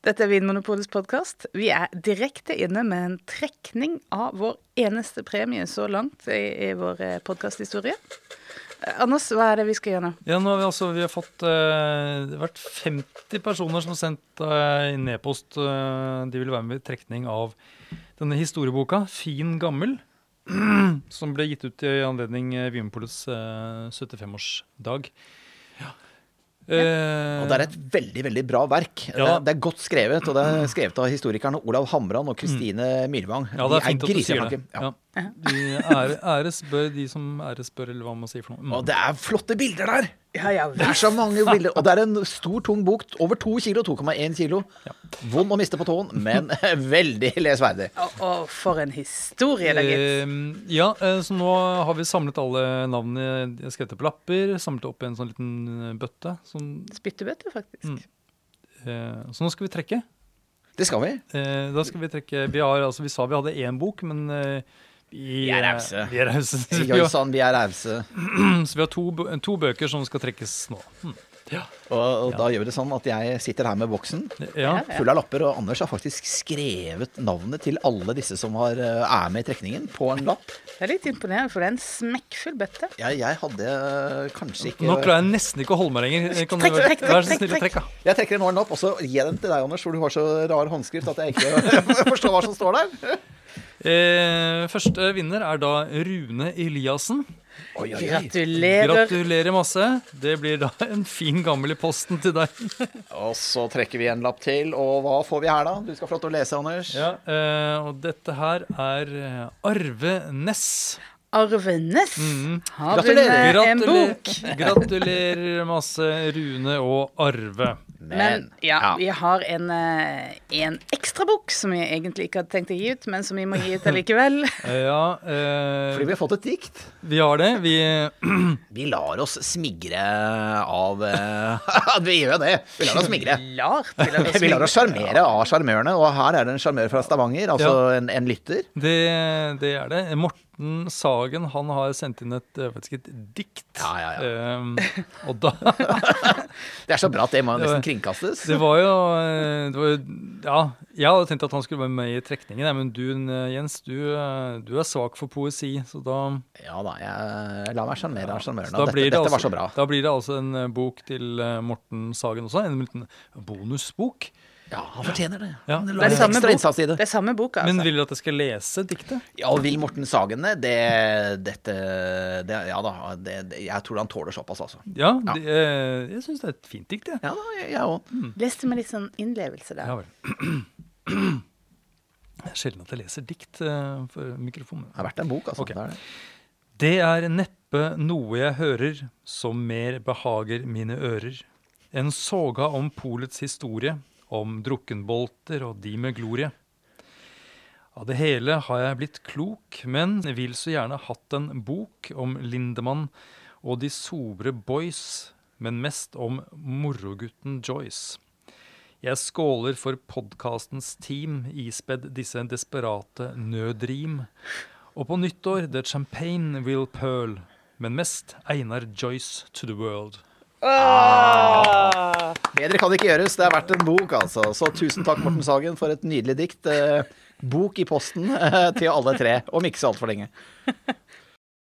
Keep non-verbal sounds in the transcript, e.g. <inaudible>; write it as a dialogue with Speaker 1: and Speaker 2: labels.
Speaker 1: Dette er Vinmonopolets podkast. Vi er direkte inne med en trekning av vår eneste premie så langt i, i vår eh, podcasthistorie. Eh, Anders, hva er det vi skal gjøre nå?
Speaker 2: Ja, nå har vi altså vi har fått eh, Det har vært 50 personer som har sendt eh, inn e-post. eh, de vil være med i trekning av denne historieboka, 'Fin gammel', <clears throat> som ble gitt ut i anledning eh, Vinmonopolets eh, 75-årsdag. Eh,
Speaker 3: Og det er et veldig veldig bra verk.
Speaker 2: Ja.
Speaker 3: Det er godt skrevet, og det er skrevet av historikerne Olav Hamran og Kristine Myrvang.
Speaker 2: Mm. ja, det er fint at du sier
Speaker 3: griseflinke.
Speaker 2: det.
Speaker 3: Ja.
Speaker 2: Ja. De ære, æres bør de som æres bør, eller hva man sier for noe. Mm.
Speaker 3: Og det er flotte bilder der!
Speaker 1: Ja, ja,
Speaker 3: Det er så mange bilder. Og det er en stor, tung bok. Over 2 kilo, 2,1 kilo. Vond å miste på tåen,
Speaker 2: <laughs>
Speaker 3: men veldig lesverdig.
Speaker 1: Og, og for en historie, da, gitt.
Speaker 2: Ehm, ja, eh, så nå har vi samlet alle navnene de har skrevet på lapper. Samlet det opp i en sånn liten eh, bøtte. Som,
Speaker 1: Spyttebøtte, faktisk.
Speaker 2: eh, så nå skal vi trekke.
Speaker 3: Det skal vi.
Speaker 2: Eh, da skal vi trekke Vi, har, altså, vi sa vi hadde én bok, men eh, vi, eh,
Speaker 3: Vi er rause.
Speaker 2: Vi er rause. Så <laughs> vi, har,
Speaker 3: Joisan, vi er rause.
Speaker 2: så vi har to, bø- to bøker som skal trekkes nå. Hm.
Speaker 3: Og, og da gjør vi det sånn at jeg sitter her med boksen
Speaker 2: Ja.
Speaker 1: Ja.
Speaker 3: full av lapper, og Anders har faktisk skrevet navnet til alle disse som har, eh, er med i trekningen, på en lapp.
Speaker 1: Det er litt imponerende, for det er en smekkfull bøtte.
Speaker 3: Jeg, jeg hadde eh, kanskje ikke
Speaker 2: Nå klarer jeg nesten ikke å holde meg lenger. Kan du
Speaker 1: Trekk,
Speaker 2: være-
Speaker 1: trekk, trekk,
Speaker 2: Vær så
Speaker 1: trekk,
Speaker 2: snill å
Speaker 1: trekk.
Speaker 2: trekke.
Speaker 3: Jeg trekker en åren opp, og så gir jeg den til deg, Anders, for du har så rar håndskrift at jeg ikke <laughs> forstår hva som står der.
Speaker 2: Eh, første vinner er da Rune Eliassen.
Speaker 3: Oi, oi, oi.
Speaker 1: Gratulerer.
Speaker 2: Gratulerer masse. Det blir da en fin gammel i posten til deg.
Speaker 3: Og så trekker vi en lapp til, og hva får vi her da? Du skal få lov til å lese, Anders.
Speaker 2: Ja, eh, og dette her er eh, Arve Næss.
Speaker 1: Arve Næss har
Speaker 3: Gratulerer.
Speaker 1: vunnet Eh, en bok.
Speaker 2: gratulerer masse, Rune og Arve.
Speaker 1: Men ja, vi har en, eh, en ekstrabok som vi egentlig ikke hadde tenkt å gi ut, men som vi må <laughs> gi ut allikevel.
Speaker 2: Eh, ja, eh,
Speaker 3: Fordi vi har fått et dikt.
Speaker 2: vi har det. Vi,
Speaker 3: Vi lar oss smigre av eh, <laughs> Vi gjør jo det. Vi lar oss smigre.
Speaker 1: Lar <laughs> til å
Speaker 3: Vi lar oss sjarmere av sjarmørene, og her er det en sjarmør fra Stavanger, altså en, en lytter.
Speaker 2: det, det er det. Morten Sagen han har sendt inn et, jeg vet ikke, et dikt.
Speaker 3: Ja, ja,
Speaker 2: Eh, og da <laughs>
Speaker 3: Det er så bra at det må jo nesten
Speaker 2: Det
Speaker 3: kringkastes.
Speaker 2: Det var jo eh, det var, jo- Ja, jeg hadde tenkt at han skulle være med i trekningen, jeg, men du eh, Jens, du, eh, du er svak for poesi, så da
Speaker 3: Ja da, jeg lar meg sjarmere av
Speaker 2: Så
Speaker 3: sjarmørene.
Speaker 2: da
Speaker 3: Dette,
Speaker 2: blir det
Speaker 3: dette var
Speaker 2: altså-
Speaker 3: så bra.
Speaker 2: Da blir det altså en eh, bok til eh, Morten Sagen også, en liten bonusbok.
Speaker 3: Ja, han fortjener det.
Speaker 2: Ja.
Speaker 3: Han
Speaker 1: Det er
Speaker 3: la
Speaker 1: samme
Speaker 3: ekstra innsats i
Speaker 1: bok-
Speaker 3: det.
Speaker 1: det er samme boka,
Speaker 2: Men
Speaker 1: altså.
Speaker 2: vil du at jeg skal lese diktet?
Speaker 3: Ja, og Will Morten Sagen, det, dette det, Ja da, det, det, jeg tror han tåler såpass, altså.
Speaker 2: Ja, det, eh, jeg syns det er et fint dikt, jeg.
Speaker 3: Ja da, jeg- jeg òg.
Speaker 1: Leste med litt sånn innlevelse der.
Speaker 2: Ja vel. <clears throat> Det er sjelden at jeg leser dikt eh, for mikrofonen.
Speaker 3: Det har vært en bok, altså.
Speaker 2: Ok.
Speaker 3: Det er det.
Speaker 2: Det er neppe noe jeg hører som mer behager mine ører. En soga om polets historie, om drukkenbolter og de med glorie. Av det hele har jeg blitt klok, men vil så gjerne hatt en bok om Lindemann og de sobre boys, men mest om morogutten Joyce. Jeg skåler for podkastens team, ispedd disse desperate nødrim. Og på nyttår The Champagne Will Pearl, men mest Einar Joyce to the World.
Speaker 1: Ah!
Speaker 3: Bedre kan det ikke gjøres. Det er verdt en bok, altså. Så tusen takk, Morten Sagen, for et nydelig dikt. Eh, Bok i posten eh, til alle tre, om ikke så altfor lenge.